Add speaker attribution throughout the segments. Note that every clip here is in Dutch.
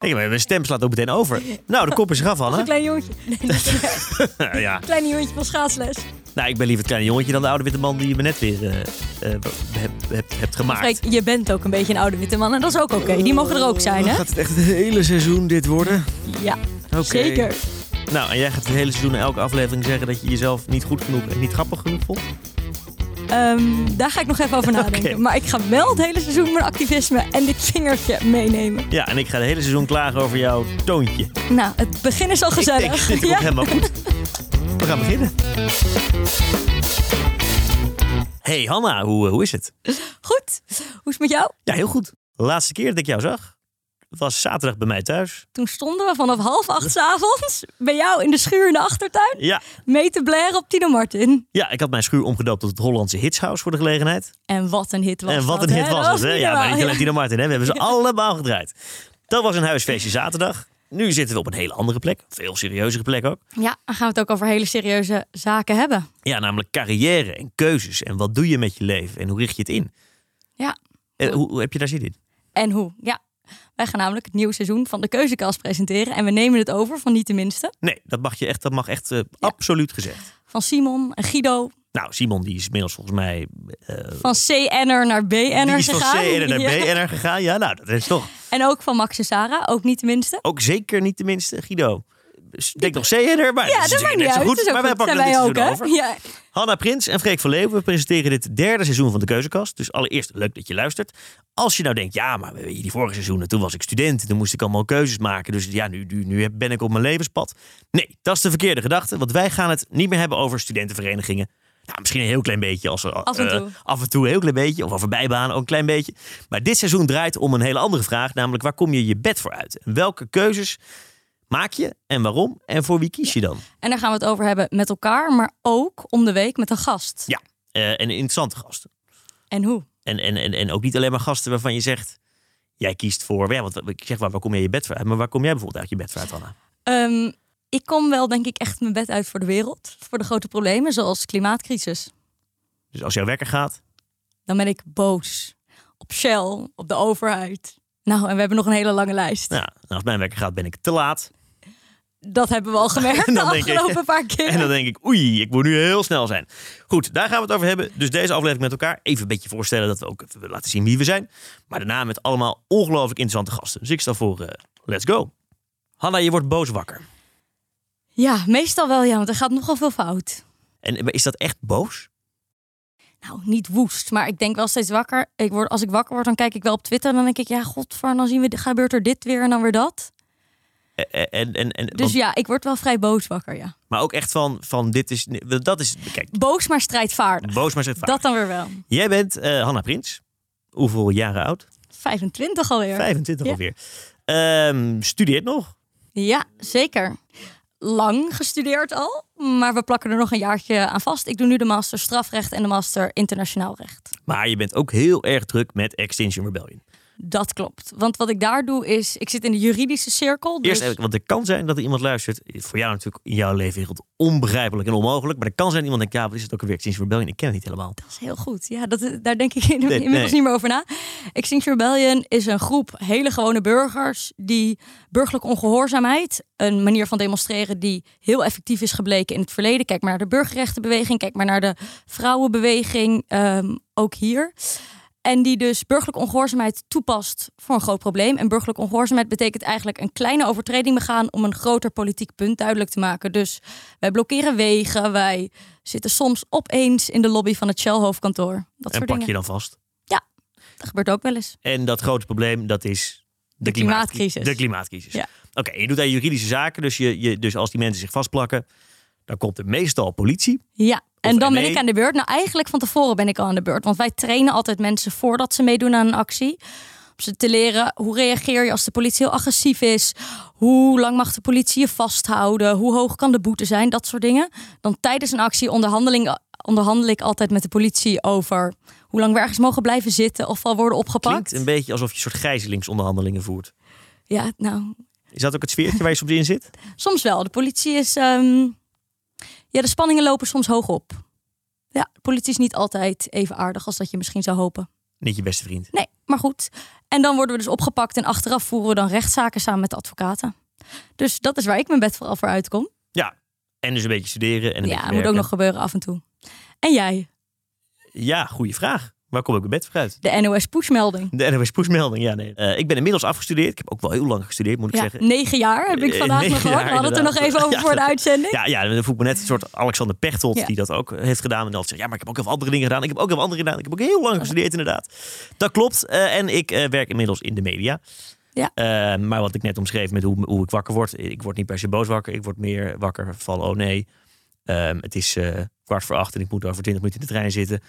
Speaker 1: Hé, maar mijn stem slaat ook meteen over. Nou, de kop is eraf,
Speaker 2: Als een
Speaker 1: Anne.
Speaker 2: klein jongetje. Nee, een
Speaker 1: ja.
Speaker 2: klein jongetje van schaatsles.
Speaker 1: Nou, ik ben liever het kleine jongetje dan de oude witte man die je me net weer eh, eh, hebt- hebt- hebt gemaakt.
Speaker 2: Kijk, je bent ook een beetje een oude witte man. En dat is ook oké. Die mogen er ook zijn, hè?
Speaker 1: Gaat het echt het hele seizoen dit worden?
Speaker 2: Ja,
Speaker 1: Oh, Oké.
Speaker 2: zeker.
Speaker 1: Nou, en jij gaat het hele seizoen in elke aflevering zeggen dat je jezelf niet goed genoeg en niet grappig genoeg vond?
Speaker 2: Ehm, daar ga ik nog even over nadenken.
Speaker 1: Oké.
Speaker 2: Maar ik ga wel het hele seizoen mijn activisme en dit vingertje meenemen.
Speaker 1: Ja, en ik ga het hele seizoen klagen over jouw toontje.
Speaker 2: Nou, het begin is al
Speaker 1: Ik denk,
Speaker 2: gezellig.
Speaker 1: dit komt helemaal goed. We gaan beginnen. Hey Hanna, hoe, eh, hoe is het?
Speaker 2: Goed. Hoe is het met jou?
Speaker 1: Ja, heel goed. De laatste keer dat ik jou zag was zaterdag bij mij thuis.
Speaker 2: Toen stonden we vanaf half acht 's avonds bij jou in de schuur in de achtertuin
Speaker 1: Ja,
Speaker 2: mee te blaren op Tino Martin.
Speaker 1: ja ik had mijn schuur omgedoopt tot het Hollandse Hitshouse voor de gelegenheid.
Speaker 2: En wat een hit was
Speaker 1: en wat
Speaker 2: dat,
Speaker 1: een hit
Speaker 2: hè?
Speaker 1: was
Speaker 2: Dat
Speaker 1: het, hè?
Speaker 2: niet
Speaker 1: Ja, maar
Speaker 2: normaal.
Speaker 1: niet alleen Dino Martin, hè? we hebben ze allemaal gedraaid. Dat was een huisfeestje zaterdag. Nu zitten we op een hele andere plek. Veel serieuzere plek ook.
Speaker 2: Ja, dan gaan we het ook over hele serieuze zaken hebben.
Speaker 1: Ja, namelijk carrière en keuzes. En wat doe je met je leven en hoe richt je het in?
Speaker 2: Ja.
Speaker 1: Eh, hoe, hoe heb je daar zin in?
Speaker 2: En hoe? Ja. Wij gaan namelijk het nieuwe seizoen van de Keuzekast presenteren. En we nemen het over van niet de minste.
Speaker 1: Nee, dat mag, je echt, dat mag echt eh, absoluut gezegd.
Speaker 2: Van Simon en Guido.
Speaker 1: Nou, Simon die is inmiddels volgens mij... eh,
Speaker 2: Van CN'er naar
Speaker 1: die
Speaker 2: BN'er
Speaker 1: is van
Speaker 2: gegaan.
Speaker 1: CNR naar
Speaker 2: Ja.
Speaker 1: BNR gegaan. Ja, nou, dat is toch
Speaker 2: En ook van Max en Sarah. Ook niet de minste.
Speaker 1: ook zeker niet tenminste Guido. Dus Ik denk nog CNR, maar
Speaker 2: Ja,
Speaker 1: dat is
Speaker 2: dat maakt
Speaker 1: natuurlijk
Speaker 2: niet
Speaker 1: net
Speaker 2: uit.
Speaker 1: zo
Speaker 2: Het
Speaker 1: goed.
Speaker 2: is ook
Speaker 1: Maar wij
Speaker 2: goed.
Speaker 1: pakken het
Speaker 2: Zijn
Speaker 1: dit
Speaker 2: wij ook,
Speaker 1: seizoen
Speaker 2: hè?
Speaker 1: over.
Speaker 2: Ja.
Speaker 1: Hanna Prins en Freek van Leeuwen presenteren dit derde seizoen van de Keuzekast. Dus allereerst leuk dat je luistert. Als je nou denkt, ja, maar weet je, die vorige seizoenen, toen was ik student. Toen moest ik allemaal keuzes maken. Dus ja, nu, nu, nu ben ik op mijn levenspad. Nee, dat is de verkeerde gedachte. Want wij gaan het niet meer hebben over studentenverenigingen. Nou, misschien een heel klein beetje. Als, we-
Speaker 2: Af en
Speaker 1: eh,
Speaker 2: toe.
Speaker 1: af en toe een heel klein beetje. Of over bijbanen ook een klein beetje. Maar dit seizoen draait om een hele andere vraag. Namelijk, waar kom je je bed voor uit? En welke keuzes maak je en waarom? En voor wie kies je dan?
Speaker 2: En daar gaan we het over hebben met elkaar. Maar ook om de week met een gast.
Speaker 1: Ja, eh, en een interessante gasten.
Speaker 2: En hoe?
Speaker 1: En, en, en, en ook niet alleen maar gasten waarvan je zegt... Jij kiest voor... Ja, want ik zeg waar, waar kom jij je bed voor uit? Maar waar kom jij bijvoorbeeld uit je bed voor uit, Anna?
Speaker 2: Ehm, ik kom wel denk ik echt mijn bed uit voor de wereld. Voor de grote problemen zoals klimaatcrisis.
Speaker 1: Dus als jouw wekker gaat...
Speaker 2: Dan ben ik boos. Op Shell. Op de overheid. Nou, en we hebben nog een hele lange lijst.
Speaker 1: Nou, en als mijn wekker gaat, ben ik te laat.
Speaker 2: Dat hebben we al gemerkt
Speaker 1: En
Speaker 2: de
Speaker 1: dan denk ik-
Speaker 2: afgelopen paar keer.
Speaker 1: En dan denk ik, oei, ik moet nu heel snel zijn. Goed, daar gaan we het over hebben. Dus deze aflevering met elkaar. Even een beetje voorstellen dat we ook even laten zien wie we zijn. Maar daarna met allemaal ongelooflijk interessante gasten. Dus ik stel voor, eh, let's go. Hanna, je wordt boos wakker.
Speaker 2: Ja, meestal wel ja, want er gaat nogal veel fout.
Speaker 1: En eh, is dat echt boos?
Speaker 2: Nou, niet woest, maar ik denk wel steeds wakker. Ik word, als ik wakker word, dan kijk ik wel op Twitter en dan denk ik... Ja, godver, dan zien we, gebeurt er dit weer en dan weer dat.
Speaker 1: Eh, eh, En, en, en,
Speaker 2: Dus
Speaker 1: want-
Speaker 2: ja, ik word wel vrij boos wakker, ja.
Speaker 1: Maar ook echt van, van dit is... Dat is... Kijk,
Speaker 2: Boos, maar strijdvaardig.
Speaker 1: boos maar zegt vaak.
Speaker 2: Dat dan weer wel.
Speaker 1: Jij bent eh Hanna Prins. Hoeveel jaren oud?
Speaker 2: 25 alweer.
Speaker 1: 25
Speaker 2: Ja.
Speaker 1: alweer. Ehm, studeert nog.
Speaker 2: Ja, zeker. Lang gestudeerd al, maar we plakken er nog een jaartje aan vast. Ik doe nu de master strafrecht en de master internationaal recht.
Speaker 1: Maar je bent ook heel erg druk met Extinction Rebellion.
Speaker 2: Dat klopt. Want wat ik daar doe is, ik zit in de juridische cirkel. Dus...
Speaker 1: Eerst even, want het kan zijn dat er iemand luistert. Voor jou natuurlijk in jouw leefwereld onbegrijpelijk en onmogelijk. Maar er kan zijn dat iemand denkt, ja, wat is het ook alweer Extinction Rebellion? Ik ken het niet helemaal.
Speaker 2: Dat is heel goed. Ja, dat, daar denk ik in- inmiddels
Speaker 1: nee.
Speaker 2: niet meer over na. Extinction Rebellion is een groep hele gewone burgers die burgerlijke ongehoorzaamheid, een manier van demonstreren die heel effectief is gebleken in het verleden. Kijk maar naar de burgerrechtenbeweging, kijk maar naar de vrouwenbeweging, ehm, ook hier. En die dus burgerlijke ongehoorzaamheid toepast voor een groot probleem. En burgerlijke ongehoorzaamheid betekent eigenlijk een kleine overtreding begaan om een groter politiek punt duidelijk te maken. Dus wij blokkeren wegen, wij zitten soms opeens in de lobby van het Shell hoofdkantoor. Dat
Speaker 1: en
Speaker 2: soort
Speaker 1: pak
Speaker 2: dingen.
Speaker 1: je dan vast.
Speaker 2: Dat gebeurt ook wel eens.
Speaker 1: En dat grote probleem, dat is de,
Speaker 2: klimaatcrisis.
Speaker 1: De klimaatcrisis.
Speaker 2: Ja.
Speaker 1: Oké, je doet daar juridische zaken. Dus, je, je, dus als die mensen zich vastplakken, dan komt er meestal politie.
Speaker 2: Ja, en dan ben
Speaker 1: ME.
Speaker 2: ik aan de beurt. Nou, eigenlijk van tevoren ben ik al aan de beurt. Want wij trainen altijd mensen voordat ze meedoen aan een actie. Om ze te leren hoe reageer je als de politie heel agressief is. Hoe lang mag de politie je vasthouden? Hoe hoog kan de boete zijn? Dat soort dingen. Dan tijdens een actie onderhandeling, onderhandel ik altijd met de politie over hoe lang we ergens mogen blijven zitten of al worden opgepakt.
Speaker 1: Klinkt een beetje alsof je een soort gijzelingsonderhandelingen voert.
Speaker 2: Ja, nou,
Speaker 1: Is dat ook het sfeertje waar je soms in zit?
Speaker 2: soms wel. De politie is. ehm, Ja, de spanningen lopen soms hoog op. Ja, de politie is niet altijd even aardig als dat je misschien zou hopen.
Speaker 1: Niet je beste vriend.
Speaker 2: Nee, maar goed. En dan worden we dus opgepakt en achteraf voeren we dan rechtszaken samen met de advocaten. Dus dat is waar ik mijn bed vooral voor uitkom.
Speaker 1: En dus een beetje studeren en een beetje
Speaker 2: ja, dat moet ook
Speaker 1: werken.
Speaker 2: nog gebeuren af en toe. En jij,
Speaker 1: Ja, goede vraag. Waar kom ik mijn bed voor uit?
Speaker 2: de NOS pushmelding.
Speaker 1: De NOS pushmelding, ja nee. Eh, ik ben inmiddels afgestudeerd. Ik heb ook wel heel lang gestudeerd, moet ik
Speaker 2: Ja,
Speaker 1: zeggen.
Speaker 2: negen jaar heb ik
Speaker 1: Eh,
Speaker 2: vandaag
Speaker 1: negen
Speaker 2: nog gehoord. We
Speaker 1: jaar,
Speaker 2: hadden het er nog even
Speaker 1: inderdaad.
Speaker 2: over
Speaker 1: Ja,
Speaker 2: voor de
Speaker 1: dat-
Speaker 2: uitzending.
Speaker 1: Ja, ja, dan voel ik me net een soort Alexander Pechtold
Speaker 2: Ja.
Speaker 1: die dat ook heeft gedaan. En dat zegt, ja, maar ik heb ook heel veel andere dingen gedaan. Ik heb ook heel veel andere gedaan. Ik heb ook heel lang gestudeerd, inderdaad. Dat klopt. Eh, en ik eh, werk inmiddels in de media.
Speaker 2: Ja.
Speaker 1: Eh, maar wat ik net omschreef met hoe, hoe ik wakker word. Ik word niet per se boos wakker. Ik word meer wakker van, oh nee, ehm, het is eh, kwart voor acht en ik moet over twintig minuten in de trein zitten.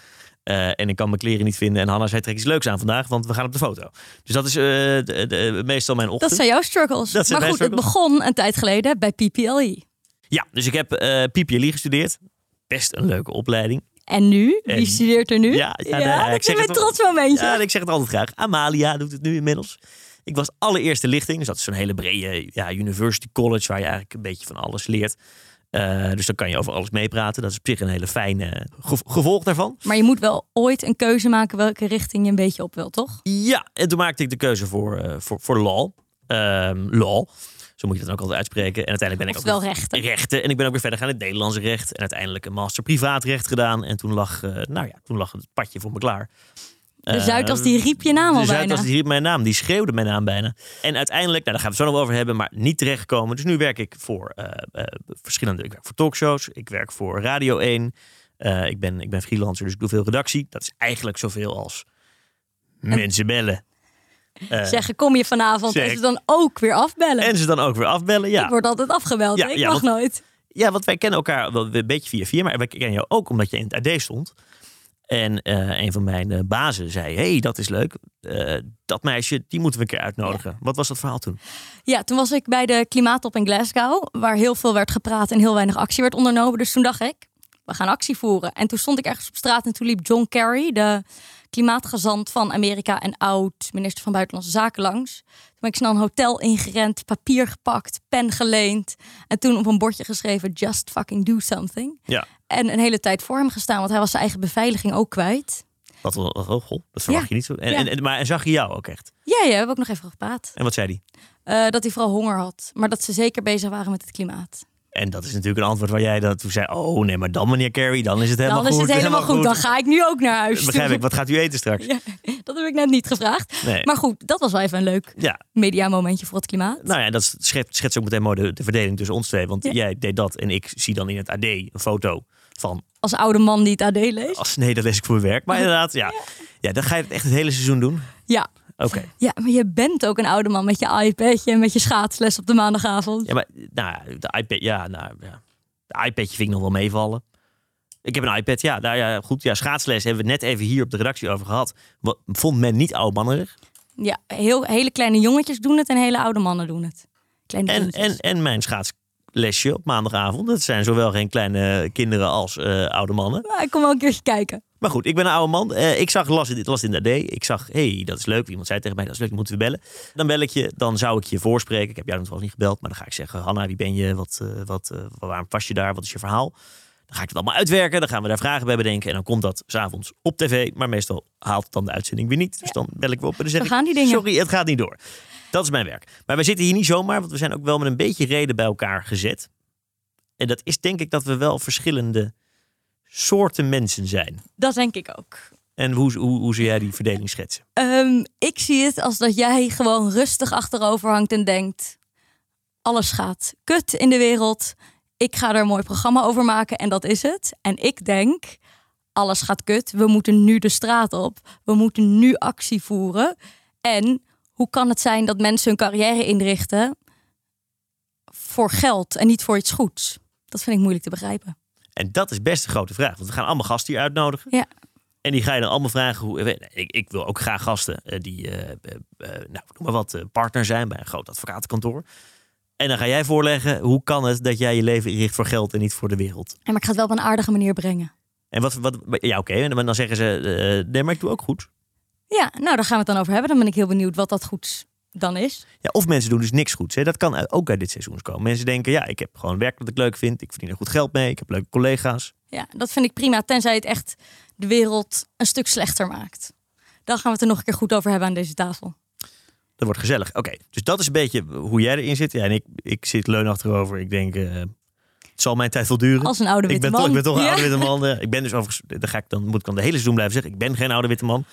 Speaker 1: Eh, en ik kan mijn kleren niet vinden. En Hanna zei, trek iets leuks aan vandaag, want we gaan op de foto. Dus dat is eh, de- de- meestal mijn ochtend.
Speaker 2: Dat zijn jouw struggles.
Speaker 1: Dat zijn
Speaker 2: maar goed,
Speaker 1: mijn
Speaker 2: het begon een tijd geleden bij PPLE.
Speaker 1: Ja, dus ik heb eh PPLE gestudeerd. Best een leuke opleiding.
Speaker 2: En nu? Wie
Speaker 1: En-
Speaker 2: studeert er nu?
Speaker 1: Ja, ja, nou ja,
Speaker 2: dat
Speaker 1: ik
Speaker 2: is
Speaker 1: zeg
Speaker 2: een
Speaker 1: het-
Speaker 2: trots momentje.
Speaker 1: Ja, en ik zeg het altijd graag. Amalia doet het nu inmiddels. Ik was allereerste lichting. Dus dat is zo'n hele brede ja, university college waar je eigenlijk een beetje van alles leert. Eh, dus dan kan je over alles meepraten. Dat is op zich een hele fijne ge- gevolg daarvan.
Speaker 2: Maar je moet wel ooit een keuze maken welke richting je een beetje op wil, toch?
Speaker 1: Ja, en toen maakte ik de keuze voor, eh, voor, voor law. Ehm, law. Zo moet je dat dan ook altijd uitspreken. En uiteindelijk ben ik ook
Speaker 2: Oftewel rechten.
Speaker 1: rechten. En ik ben ook weer verder gaan in het Nederlandse recht. En uiteindelijk een master privaatrecht gedaan. En toen lag, eh, nou ja, toen lag het padje voor me klaar.
Speaker 2: De Zuidas die riep je naam al
Speaker 1: Dus hij
Speaker 2: bijna.
Speaker 1: was hier mijn naam. Eh, Die schreeuwde mijn naam bijna. En uiteindelijk, nou, daar gaan we het zo nog wel over hebben, maar niet terechtgekomen. Dus nu werk ik voor eh, eh, verschillende. Ik werk voor talkshows, ik werk voor Radio 1. Eh, ik, ben, ik ben freelancer, dus ik doe veel redactie. Dat is eigenlijk zoveel als mensen bellen. Eh,
Speaker 2: Zeggen, kom je vanavond
Speaker 1: zeg-
Speaker 2: en ze dan ook weer afbellen.
Speaker 1: en ze dan ook weer afbellen. Ja,
Speaker 2: Ik word altijd afgebeld,
Speaker 1: Ja,
Speaker 2: hè? ik
Speaker 1: ja,
Speaker 2: mag
Speaker 1: want-
Speaker 2: nooit.
Speaker 1: ja want wij kennen elkaar wel een beetje via via, maar wij kennen jou ook omdat je in het AD stond. En eh, een van mijn eh, bazen zei: hey, dat is leuk. Eh, dat meisje, die moeten we een keer uitnodigen. Wat was dat verhaal toen?
Speaker 2: Ja, toen was ik bij de klimaattop in Glasgow, waar heel veel werd gepraat en heel weinig actie werd ondernomen. Dus toen dacht ik, we gaan actie voeren. En toen stond ik ergens op straat en toen liep John Kerry, de klimaatgezant van Amerika en oud minister van Buitenlandse Zaken langs. Toen ben ik snel een hotel ingerend, papier gepakt, pen geleend en toen op een bordje geschreven just fucking do something.
Speaker 1: Ja.
Speaker 2: En een hele tijd voor hem gestaan, want hij was zijn eigen beveiliging ook kwijt.
Speaker 1: Wat wel, oh, goh, dat verwacht
Speaker 2: Ja.
Speaker 1: je niet zo. En,
Speaker 2: Ja.
Speaker 1: en, en- maar en zag je jou ook echt?
Speaker 2: Ja, ja, we hebben ook nog even gepraat.
Speaker 1: En wat zei die?
Speaker 2: Eh, dat hij vooral honger had, maar dat ze zeker bezig waren met het klimaat.
Speaker 1: En dat is natuurlijk een antwoord waar jij dan toen zei: Oh nee, maar dan, meneer Carey, dan is het helemaal
Speaker 2: dan is
Speaker 1: goed.
Speaker 2: het helemaal goed. Dan ga ik nu ook naar huis.
Speaker 1: Begrijp
Speaker 2: toe.
Speaker 1: ik, wat gaat u eten straks?
Speaker 2: Ja, dat heb ik net niet gevraagd.
Speaker 1: Nee.
Speaker 2: Maar goed, dat was wel even een leuk
Speaker 1: Ja,
Speaker 2: mediamomentje voor het klimaat.
Speaker 1: nou ja, dat schetst, schetst ook meteen mooi de, de verdeling tussen ons twee. Want
Speaker 2: Ja.
Speaker 1: jij deed dat en ik zie dan in het AD een foto van.
Speaker 2: Als oude man die het AD leest.
Speaker 1: Als nee, dat lees ik voor mijn werk. Maar inderdaad, ja. Ja, dan ga je het echt het hele seizoen doen.
Speaker 2: Ja.
Speaker 1: Oké.
Speaker 2: ja, maar je bent ook een oude man met je iPadje en met je schaatsles op de maandagavond.
Speaker 1: Ja, maar nou, de iPad, ja, nou, ja. De iPadje vind ik nog wel meevallen. Ik heb een iPad, ja, nou ja, goed. Ja, schaatsles hebben we net even hier op de redactie over gehad. Wat, vond men niet oudmannerig.
Speaker 2: Ja, heel, hele kleine jongetjes doen het en hele oude mannen doen het. Kleine
Speaker 1: En,
Speaker 2: jongetjes.
Speaker 1: en, en mijn schaatslesje op maandagavond. Dat zijn zowel geen kleine kinderen als eh, oude mannen.
Speaker 2: Maar ik kom wel een keertje kijken.
Speaker 1: Maar goed, ik ben een oude man. Eh, ik zag, las, dit las in de AD. Ik zag, hey, dat is leuk. Iemand zei tegen mij, dat is leuk, die moeten we bellen. Dan bel ik je, dan zou ik je voorspreken. Ik heb jou nog wel niet gebeld, maar dan ga ik zeggen... Hanna, wie ben je? Wat, eh, wat, eh, waarom was je daar? Wat is je verhaal? Dan ga ik het allemaal uitwerken. Dan gaan we daar vragen bij bedenken. En dan komt dat s'avonds op tv. Maar meestal haalt het dan de uitzending weer niet. Dus dan bel ik weer op en dan zeg
Speaker 2: Dan
Speaker 1: ik,
Speaker 2: gaan die dingen.
Speaker 1: sorry, het gaat niet door. Dat is mijn werk. Maar wij zitten hier niet zomaar, want we zijn ook wel met een beetje reden bij elkaar gezet. En dat is denk ik dat we wel verschillende soorten mensen zijn.
Speaker 2: Dat denk ik ook.
Speaker 1: En hoe, hoe, hoe zou jij die verdeling schetsen?
Speaker 2: Ehm, ik zie het als dat jij gewoon rustig achterover hangt en denkt: alles gaat kut in de wereld. Ik ga er een mooi programma over maken en dat is het. En ik denk: alles gaat kut. We moeten nu de straat op. We moeten nu actie voeren. En hoe kan het zijn dat mensen hun carrière inrichten voor geld en niet voor iets goeds? Dat vind ik moeilijk te begrijpen.
Speaker 1: En dat is best een grote vraag. Want we gaan allemaal gasten hier uitnodigen.
Speaker 2: Ja.
Speaker 1: En die ga je dan allemaal vragen. Hoe, ik, ik wil ook graag gasten eh, die, eh, eh, eh, nou, noem maar wat, eh, partner zijn bij een groot advocatenkantoor. En dan ga jij voorleggen, hoe kan het dat jij je leven inricht voor geld en niet voor de wereld?
Speaker 2: Ja, Maar ik ga het wel op een aardige manier brengen.
Speaker 1: En wat, wat ja oké, en dan zeggen ze, eh, nee maar ik doe ook goed.
Speaker 2: Ja, nou daar gaan we het dan over hebben. Dan ben ik heel benieuwd wat dat goeds dan is.
Speaker 1: Ja, of mensen doen dus niks goeds. Hè. Dat kan uit- ook uit dit seizoen komen. Mensen denken, ja ik heb gewoon werk dat ik leuk vind. Ik verdien er goed geld mee. Ik heb leuke collega's.
Speaker 2: Ja, dat vind ik prima. Tenzij het echt de wereld een stuk slechter maakt. Dan gaan we het er nog een keer goed over hebben aan deze tafel.
Speaker 1: Dat wordt gezellig. Oké, dus dat is een beetje hoe jij erin zit. Ja, en ik, ik zit leun achterover. Ik denk, eh, het zal mijn tijd wel duren.
Speaker 2: Als een oude
Speaker 1: ik ben,
Speaker 2: witte man.
Speaker 1: Toch, ik ben toch een
Speaker 2: Ja,
Speaker 1: oude witte man. eh. Ik ben dus overigens, daar ga ik dan, moet ik dan de hele seizoen blijven zeggen. Ik ben geen oude witte man.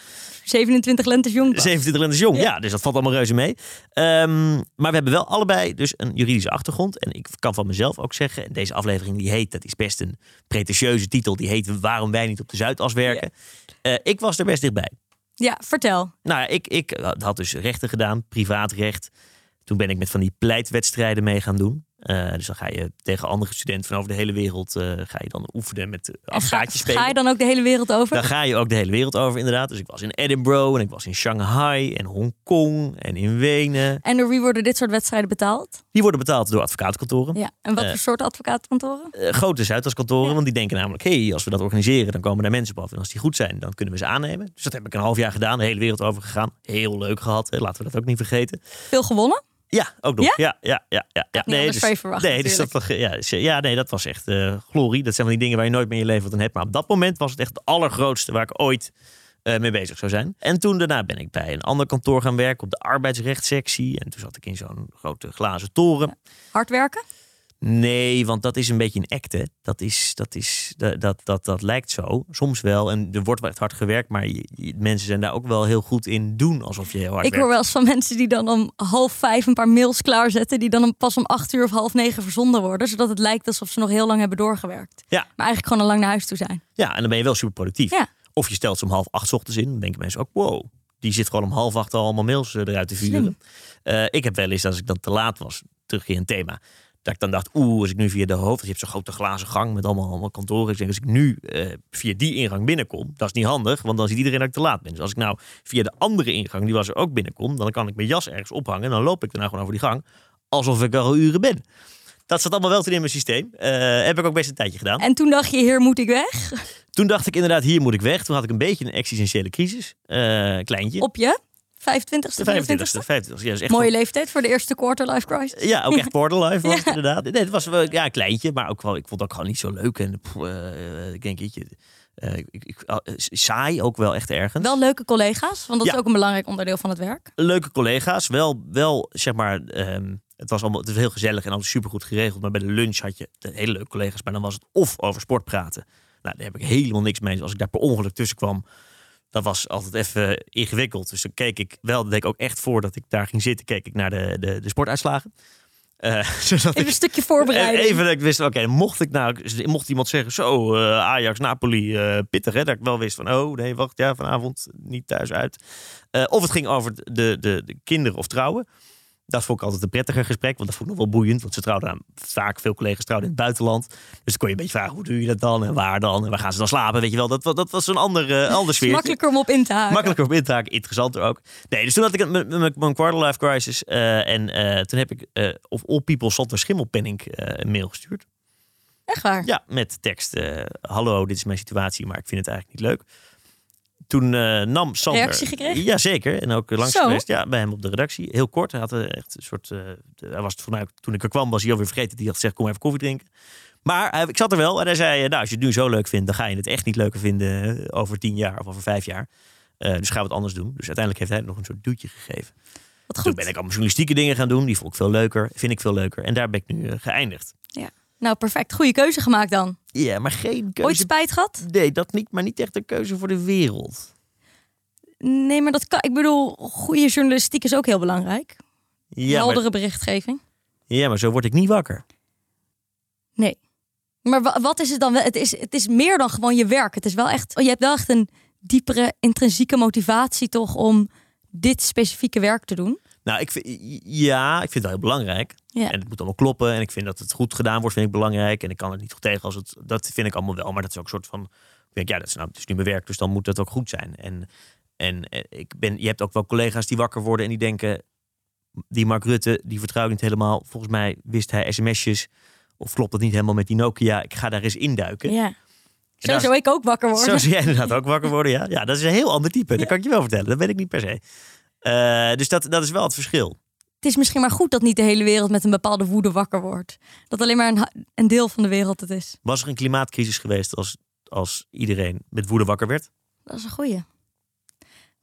Speaker 2: 27 lentes jong. pas.
Speaker 1: 27 en is jong, ja.
Speaker 2: Ja.
Speaker 1: Dus dat valt allemaal reuze mee. Ehm, maar we hebben wel allebei dus een juridische achtergrond. En ik kan van mezelf ook zeggen, en deze aflevering die heet, dat is best een pretentieuze titel. Die heet Waarom wij niet op de Zuidas werken. Eh, ik was er best dichtbij.
Speaker 2: Ja, vertel.
Speaker 1: Nou ja, ik, ik had dus rechten gedaan, privaatrecht. Toen ben ik met van die pleitwedstrijden mee gaan doen. Eh, dus dan ga je tegen andere studenten van over de hele wereld eh, ga je dan oefenen met eh,
Speaker 2: En Ga,
Speaker 1: afgaatjes spelen.
Speaker 2: ga je dan ook de hele wereld over?
Speaker 1: Daar ga je ook de hele wereld over, inderdaad. Dus ik was in Edinburgh en ik was in Shanghai en Hongkong en in Wenen.
Speaker 2: En door wie worden dit soort wedstrijden betaald?
Speaker 1: Die worden betaald door advocatenkantoren.
Speaker 2: Ja. En wat
Speaker 1: Eh.
Speaker 2: voor soort advocatenkantoren?
Speaker 1: Eh, grote Zuidaskantoren, want die denken namelijk... hé, hey, als we dat organiseren, dan komen daar mensen op af. En als die goed zijn, dan kunnen we ze aannemen. Dus dat heb ik een half jaar gedaan, de hele wereld over gegaan. Heel leuk gehad, hè. laten we dat ook niet vergeten.
Speaker 2: Veel gewonnen?
Speaker 1: Ja, ook nog.
Speaker 2: Ja?
Speaker 1: Ja, ja, ja. ja, ja.
Speaker 2: niet anders van je verwacht,
Speaker 1: nee, dus dat, ja, dus, ja, nee, dat was echt eh, glorie. Dat zijn van die dingen waar je nooit meer in je leven wat aan hebt. Maar op dat moment was het echt het allergrootste waar ik ooit eh, mee bezig zou zijn. En toen daarna ben ik bij een ander kantoor gaan werken op de arbeidsrechtssectie. En toen zat ik in zo'n grote glazen toren.
Speaker 2: Hard werken?
Speaker 1: Nee, want dat is een beetje een act, hè. Dat, is, dat, is, dat, dat, dat, dat lijkt zo. Soms wel. En er wordt wel echt hard gewerkt. Maar je- je- mensen zijn daar ook wel heel goed in doen alsof je heel hard
Speaker 2: Ik
Speaker 1: werkt.
Speaker 2: hoor wel eens van mensen die dan om half vijf een paar mails klaarzetten. die dan om- pas om acht uur of half negen verzonden worden. zodat het lijkt alsof ze nog heel lang hebben doorgewerkt.
Speaker 1: Ja.
Speaker 2: Maar eigenlijk gewoon al lang naar huis toe zijn.
Speaker 1: Ja, en dan ben je wel super productief.
Speaker 2: Ja.
Speaker 1: Of je stelt ze om half acht 's ochtends in. Dan denken mensen ook, wow, die zit gewoon om half acht al allemaal mails eh, eruit te vuren.
Speaker 2: Slim.
Speaker 1: Eh, ik heb wel eens, als ik dan te laat was, terugkeer een thema. Dat ik dan dacht, oeh, als ik nu via de hoofd... Je hebt zo'n grote glazen gang met allemaal, allemaal kantoren. Ik denk, als ik nu eh, via die ingang binnenkom, dat is niet handig. Want dan ziet iedereen dat ik te laat ben. Dus als ik nou via de andere ingang, die was er ook binnenkom... dan kan ik mijn jas ergens ophangen en dan loop ik daarna gewoon over die gang. Alsof ik er al uren ben. Dat zat allemaal wel te in mijn systeem. Eh, heb ik ook best een tijdje gedaan.
Speaker 2: En toen dacht je, hier moet ik weg.
Speaker 1: Toen dacht ik inderdaad, hier moet ik weg. Toen had ik een beetje een existentiële crisis. Eh, kleintje.
Speaker 2: Op je 25ste,
Speaker 1: de
Speaker 2: 25ste.
Speaker 1: 25ste. 25ste. Ja, dat is echt
Speaker 2: Mooie leeftijd voor de eerste quarter life crisis.
Speaker 1: ja, ook echt borderline was het
Speaker 2: Ja.
Speaker 1: inderdaad. Nee, het was wel ja, een kleintje, maar ook wel, ik vond het ook gewoon niet zo leuk. En pff, eh, ik denk, jeetje, eh, ik, ik, ah, eh, saai ook wel echt ergens.
Speaker 2: Wel leuke collega's, want dat
Speaker 1: Ja.
Speaker 2: is ook een belangrijk onderdeel van het werk.
Speaker 1: Leuke collega's, wel, wel zeg maar, ehm, het was allemaal het was heel gezellig en alles supergoed geregeld. Maar bij de lunch had je de hele leuke collega's, maar dan was het of over sport praten. Nou, daar heb ik helemaal niks mee. Dus als ik daar per ongeluk tussen kwam, dat was altijd even eh, ingewikkeld. Dus dan keek ik wel, dat deed ik ook echt voordat ik daar ging zitten, keek ik naar de, de, de sportuitslagen. Eh, zodat
Speaker 2: Even
Speaker 1: ik
Speaker 2: een stukje
Speaker 1: En
Speaker 2: voorbereiding.
Speaker 1: Eh, E- Even dat ik wist, oké, mocht ik nou, mocht iemand zeggen, zo, eh, Ajax, Napoli, eh, pittig, hè, dat ik wel wist van, oh nee, wacht, ja, vanavond niet thuis uit. Eh, of het ging over de, de, de kinderen of trouwen. Dat vond ik altijd een prettiger gesprek, want dat vond ik nog wel boeiend, want ze trouwden aan, vaak veel collega's trouwden in het buitenland. Dus dan kon je een beetje vragen, hoe doe je dat dan en waar dan en waar gaan ze dan slapen, weet je wel. Dat, wa- dat was een ander, eh, ander
Speaker 2: Het is
Speaker 1: sfeertje.
Speaker 2: makkelijker om op in te haken.
Speaker 1: Makkelijker op in te haken, interessanter ook. Nee, dus toen had ik een- mijn- mijn mijn quarterlife crisis. eh, en eh, toen heb ik eh, of All People Sander Schimmelpenning eh, een mail gestuurd.
Speaker 2: Echt waar.
Speaker 1: Ja, met tekst. eh, Hallo, dit is mijn situatie, maar ik vind het eigenlijk niet leuk. Toen eh, nam Sander...
Speaker 2: Reactie gekregen?
Speaker 1: Jazeker. En ook eh, langs
Speaker 2: Zo.
Speaker 1: geweest ja, bij hem op de redactie. Heel kort. Hij had eh, echt een soort... eh, de- hij was het voor mij, ook- toen ik er kwam, was hij alweer vergeten. Die had gezegd, kom even koffie drinken. Maar hij- ik zat er wel en hij zei, eh, nou, als je het nu zo leuk vindt... dan ga je het echt niet leuker vinden eh, over tien jaar of over vijf jaar. Eh, dus gaan we het anders doen. Dus uiteindelijk heeft hij nog een soort duwtje gegeven.
Speaker 2: Wat
Speaker 1: Toen
Speaker 2: goed.
Speaker 1: ben ik allemaal journalistieke dingen gaan doen. Die vond ik veel leuker. Vind ik veel leuker. En daar ben ik nu eh, geëindigd.
Speaker 2: Nou, perfect. Goede keuze gemaakt dan.
Speaker 1: Ja, maar geen keuze
Speaker 2: Ooit spijt gehad?
Speaker 1: Nee, dat niet, maar niet echt een keuze voor de wereld.
Speaker 2: Nee, maar dat kan. Ik bedoel, goede journalistiek is ook heel belangrijk.
Speaker 1: Ja maar,
Speaker 2: Heldere berichtgeving.
Speaker 1: ja, maar zo word ik niet wakker.
Speaker 2: Maar wa- wat is het dan wel? Het is, het is meer dan gewoon je werk. Het is wel echt. oh, Je hebt wel echt een diepere intrinsieke motivatie toch om dit specifieke werk te doen.
Speaker 1: Nou, ik vind, ja, ik vind het wel heel belangrijk.
Speaker 2: Ja.
Speaker 1: En het moet allemaal kloppen. En ik vind dat het goed gedaan wordt, vind ik belangrijk. En ik kan er niet goed tegen als het. Dat vind ik allemaal wel. Maar dat is ook een soort van. Ik denk, ja, dat is, nou, het is nu mijn werk, dus dan moet dat ook goed zijn. En, en eh, ik ben, je hebt ook wel collega's die wakker worden en die denken. Die Mark Rutte, die vertrouw ik niet helemaal. Volgens mij wist hij sms'jes. Of klopt dat niet helemaal met die Nokia? Ik ga daar eens induiken.
Speaker 2: Ja. Zo
Speaker 1: daar-
Speaker 2: zou ik ook wakker worden.
Speaker 1: Zo zie jij inderdaad ook wakker worden, ja. Ja, dat is een heel ander type. Dat kan ik je wel vertellen. Dat weet ik niet per se. Eh, dus dat, dat is wel het verschil.
Speaker 2: Het is misschien maar goed dat niet de hele wereld met een bepaalde woede wakker wordt. Dat alleen maar een, ha- een deel van de wereld het is.
Speaker 1: Was er een klimaatcrisis geweest als, als iedereen met woede wakker werd?
Speaker 2: Dat is een goeie.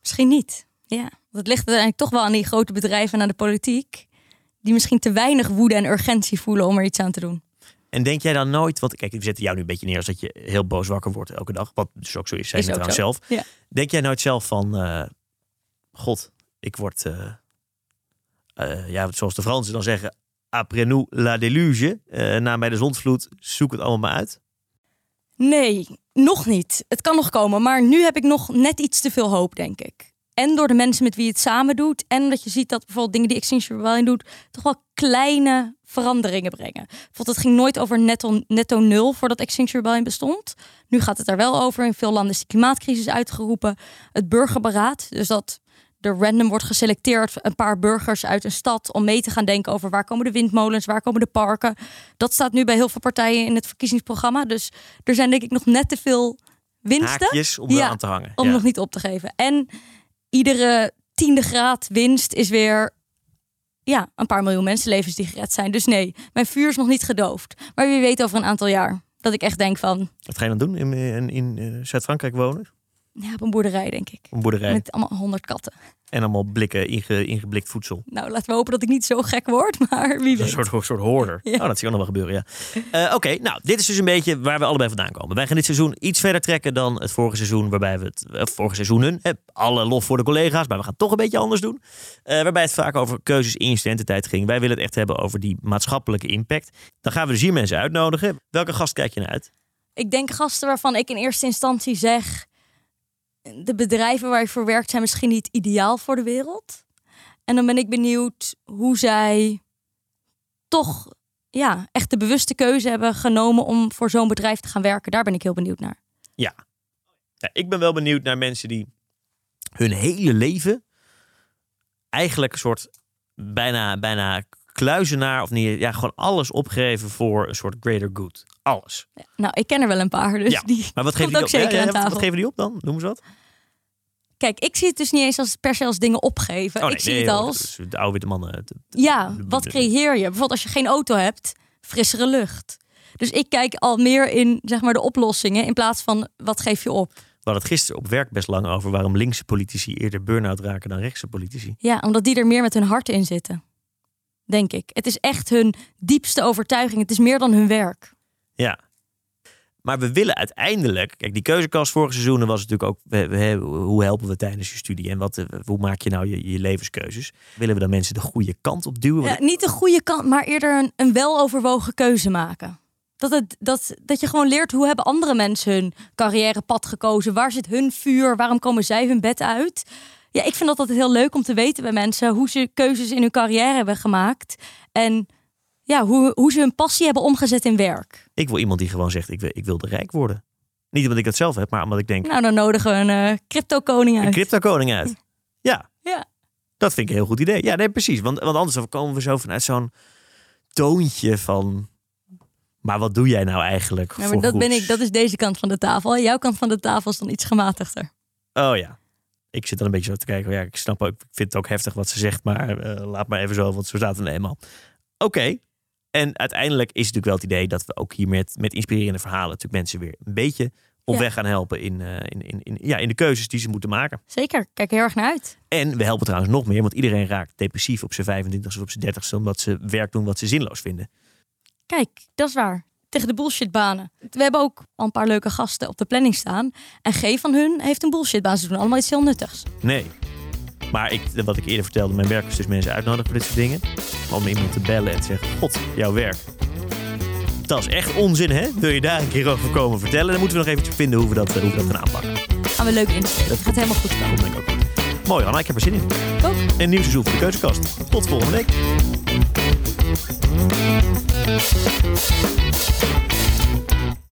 Speaker 2: Misschien niet. Ja. Want het ligt uiteindelijk toch wel aan die grote bedrijven en aan de politiek. Die misschien te weinig woede en urgentie voelen om er iets aan te doen.
Speaker 1: En denk jij dan nooit, want kijk, we zetten jou nu een beetje neer als dat je heel boos wakker wordt elke dag. Wat dus ook zo is, zijn
Speaker 2: Is
Speaker 1: we
Speaker 2: ook
Speaker 1: trouwens
Speaker 2: zo.
Speaker 1: zelf.
Speaker 2: Ja.
Speaker 1: Denk jij nooit zelf van, eh, god, ik word, eh, eh, ja, zoals de Fransen dan zeggen, après nous la déluge, Eh, na mij de zondvloed, zoek het allemaal maar uit.
Speaker 2: Nee, nog niet. Het kan nog komen, maar nu heb ik nog net iets te veel hoop, denk ik. En door de mensen met wie je het samen doet. En dat je ziet dat bijvoorbeeld dingen die Extinction Rebellion doet... toch wel kleine veranderingen brengen. Bijvoorbeeld het ging nooit over netto, netto nul voordat Extinction Rebellion bestond. Nu gaat het er wel over. In veel landen is de klimaatcrisis uitgeroepen. Het burgerberaad, dus dat er random wordt geselecteerd... een paar burgers uit een stad om mee te gaan denken over... waar komen de windmolens, waar komen de parken. Dat staat nu bij heel veel partijen in het verkiezingsprogramma. Dus er zijn denk ik nog net te veel winsten
Speaker 1: Haakjes om eraan
Speaker 2: Ja,
Speaker 1: aan te hangen.
Speaker 2: om
Speaker 1: Ja.
Speaker 2: nog niet op te geven. En iedere tiende graad winst is weer ja, een paar miljoen mensenlevens die gered zijn. Dus nee, mijn vuur is nog niet gedoofd. Maar wie weet over een aantal jaar dat ik echt denk van,
Speaker 1: Wat ga je dan doen? In, in, in eh, Zuid-Frankrijk wonen?
Speaker 2: ja, op een boerderij denk ik.
Speaker 1: Op Een boerderij?
Speaker 2: Met allemaal honderd katten.
Speaker 1: En allemaal blikken, inge, ingeblikt voedsel.
Speaker 2: Nou, laten we hopen dat ik niet zo gek word, maar wie
Speaker 1: Een
Speaker 2: weet.
Speaker 1: soort, soort hoorder.
Speaker 2: Ja.
Speaker 1: Oh, dat zie ik ook nog wel gebeuren, ja. Eh, Oké, nou, dit is dus een beetje waar we allebei vandaan komen. Wij gaan dit seizoen iets verder trekken dan het vorige seizoen, waarbij we het, eh, vorige seizoenen, hè, alle lof voor de collega's, maar we gaan het toch een beetje anders doen. Eh, waarbij het vaak over keuzes in studententijd ging. Wij willen het echt hebben over die maatschappelijke impact. Dan gaan we dus hier mensen uitnodigen. Welke gast kijk je naar uit?
Speaker 2: Ik denk gasten waarvan ik in eerste instantie zeg... de bedrijven waar je voor werkt zijn misschien niet ideaal voor de wereld. En dan ben ik benieuwd hoe zij toch ja, echt de bewuste keuze hebben genomen... om voor zo'n bedrijf te gaan werken. Daar ben ik heel benieuwd naar.
Speaker 1: Ja, Nou, ik ben wel benieuwd naar mensen die hun hele leven eigenlijk een soort bijna, bijna kluizenaar of niet, ja, gewoon alles opgeven voor een soort greater good. Alles.
Speaker 2: Nou, ik ken er wel een paar, dus
Speaker 1: Ja.
Speaker 2: die...
Speaker 1: Maar wat
Speaker 2: Komt
Speaker 1: geven die
Speaker 2: ook
Speaker 1: op?
Speaker 2: zeker aan
Speaker 1: wat- wat,
Speaker 2: tafel.
Speaker 1: geven die op dan? Noem ze wat?
Speaker 2: Kijk, ik zie het dus niet eens als per se als dingen opgeven.
Speaker 1: Oh,
Speaker 2: ik zie het
Speaker 1: joh,
Speaker 2: als...
Speaker 1: dat is De oude witte mannen. Het-
Speaker 2: Ja, wat creëer je? Bijvoorbeeld als je geen auto hebt, frissere lucht. Dus ik kijk al meer in zeg maar, de oplossingen in plaats van wat geef je op.
Speaker 1: We hadden het gisteren op werk best lang over waarom linkse politici eerder burn-out raken dan rechtse politici.
Speaker 2: Ja, omdat die er meer met hun hart in zitten. Denk ik. Het is echt hun diepste overtuiging. Het is meer dan hun werk.
Speaker 1: Ja. Maar we willen uiteindelijk. Kijk, die keuzekast vorige seizoenen was natuurlijk ook. we- we- hoe helpen we tijdens je studie? En wat, eh, hoe maak je nou je, je levenskeuzes? Willen we dan mensen de goede kant op duwen?
Speaker 2: Ja, niet de goede kant, maar eerder een, een weloverwogen keuze maken. Dat, het, dat, dat je gewoon leert hoe hebben andere mensen hun carrièrepad gekozen. Waar zit hun vuur? Waarom komen zij hun bed uit? Ja, ik vind dat altijd heel leuk om te weten bij mensen hoe ze keuzes in hun carrière hebben gemaakt. En ja, hoe, hoe ze hun passie hebben omgezet in werk.
Speaker 1: Ik wil iemand die gewoon zegt: ik wil, ik wil rijk worden. Niet omdat ik dat zelf heb, maar omdat ik denk.
Speaker 2: Nou, dan nodigen we een eh, crypto-koning
Speaker 1: Een
Speaker 2: uit.
Speaker 1: crypto-koning uit. Ja.
Speaker 2: Ja.
Speaker 1: Dat vind ik een heel goed idee. Ja, nee, precies. Want, want anders dan komen we zo vanuit zo'n toontje van... Maar wat doe jij nou eigenlijk
Speaker 2: Ja, maar
Speaker 1: voor
Speaker 2: dat, ben
Speaker 1: goeds?
Speaker 2: ik, dat is deze kant van de tafel. Jouw kant van de tafel is dan iets gematigder.
Speaker 1: Oh ja. Ik zit dan een beetje zo te kijken. Ja, ik snap ook, ik vind het ook heftig wat ze zegt. Maar eh, laat maar even zo, want zo staat het nou eenmaal. Oké. En uiteindelijk is het natuurlijk wel het idee dat we ook hier met, met inspirerende verhalen... natuurlijk mensen weer een beetje op
Speaker 2: Ja.
Speaker 1: weg gaan helpen in, eh, in, in, in, ja, in de keuzes die ze moeten maken.
Speaker 2: Zeker, ik kijk er heel erg naar uit.
Speaker 1: En we helpen trouwens nog meer, want iedereen raakt depressief op zijn 25ste of op zijn 30ste, omdat ze werk doen wat ze zinloos vinden.
Speaker 2: Kijk, dat is waar. Tegen de bullshitbanen. We hebben ook al een paar leuke gasten op de planning staan. En geen van hun heeft een bullshitbaan. Ze doen allemaal iets heel nuttigs.
Speaker 1: Nee. Maar ik, wat ik eerder vertelde, mijn werk is dus mensen uitnodigen voor dit soort dingen. Maar om iemand te bellen en te zeggen, god, jouw werk. Dat is echt onzin, hè? Wil je daar een keer over komen vertellen? Dan moeten we nog eventjes vinden hoe we dat, hoe we dat gaan aanpakken.
Speaker 2: Gaan we leuk insteken. Het gaat helemaal goed komen.
Speaker 1: Dat denk ik ook. Mooi, Anna, ik heb er zin in.
Speaker 2: Ook.
Speaker 1: En nieuw seizoen voor de Keuzekast. Tot volgende week.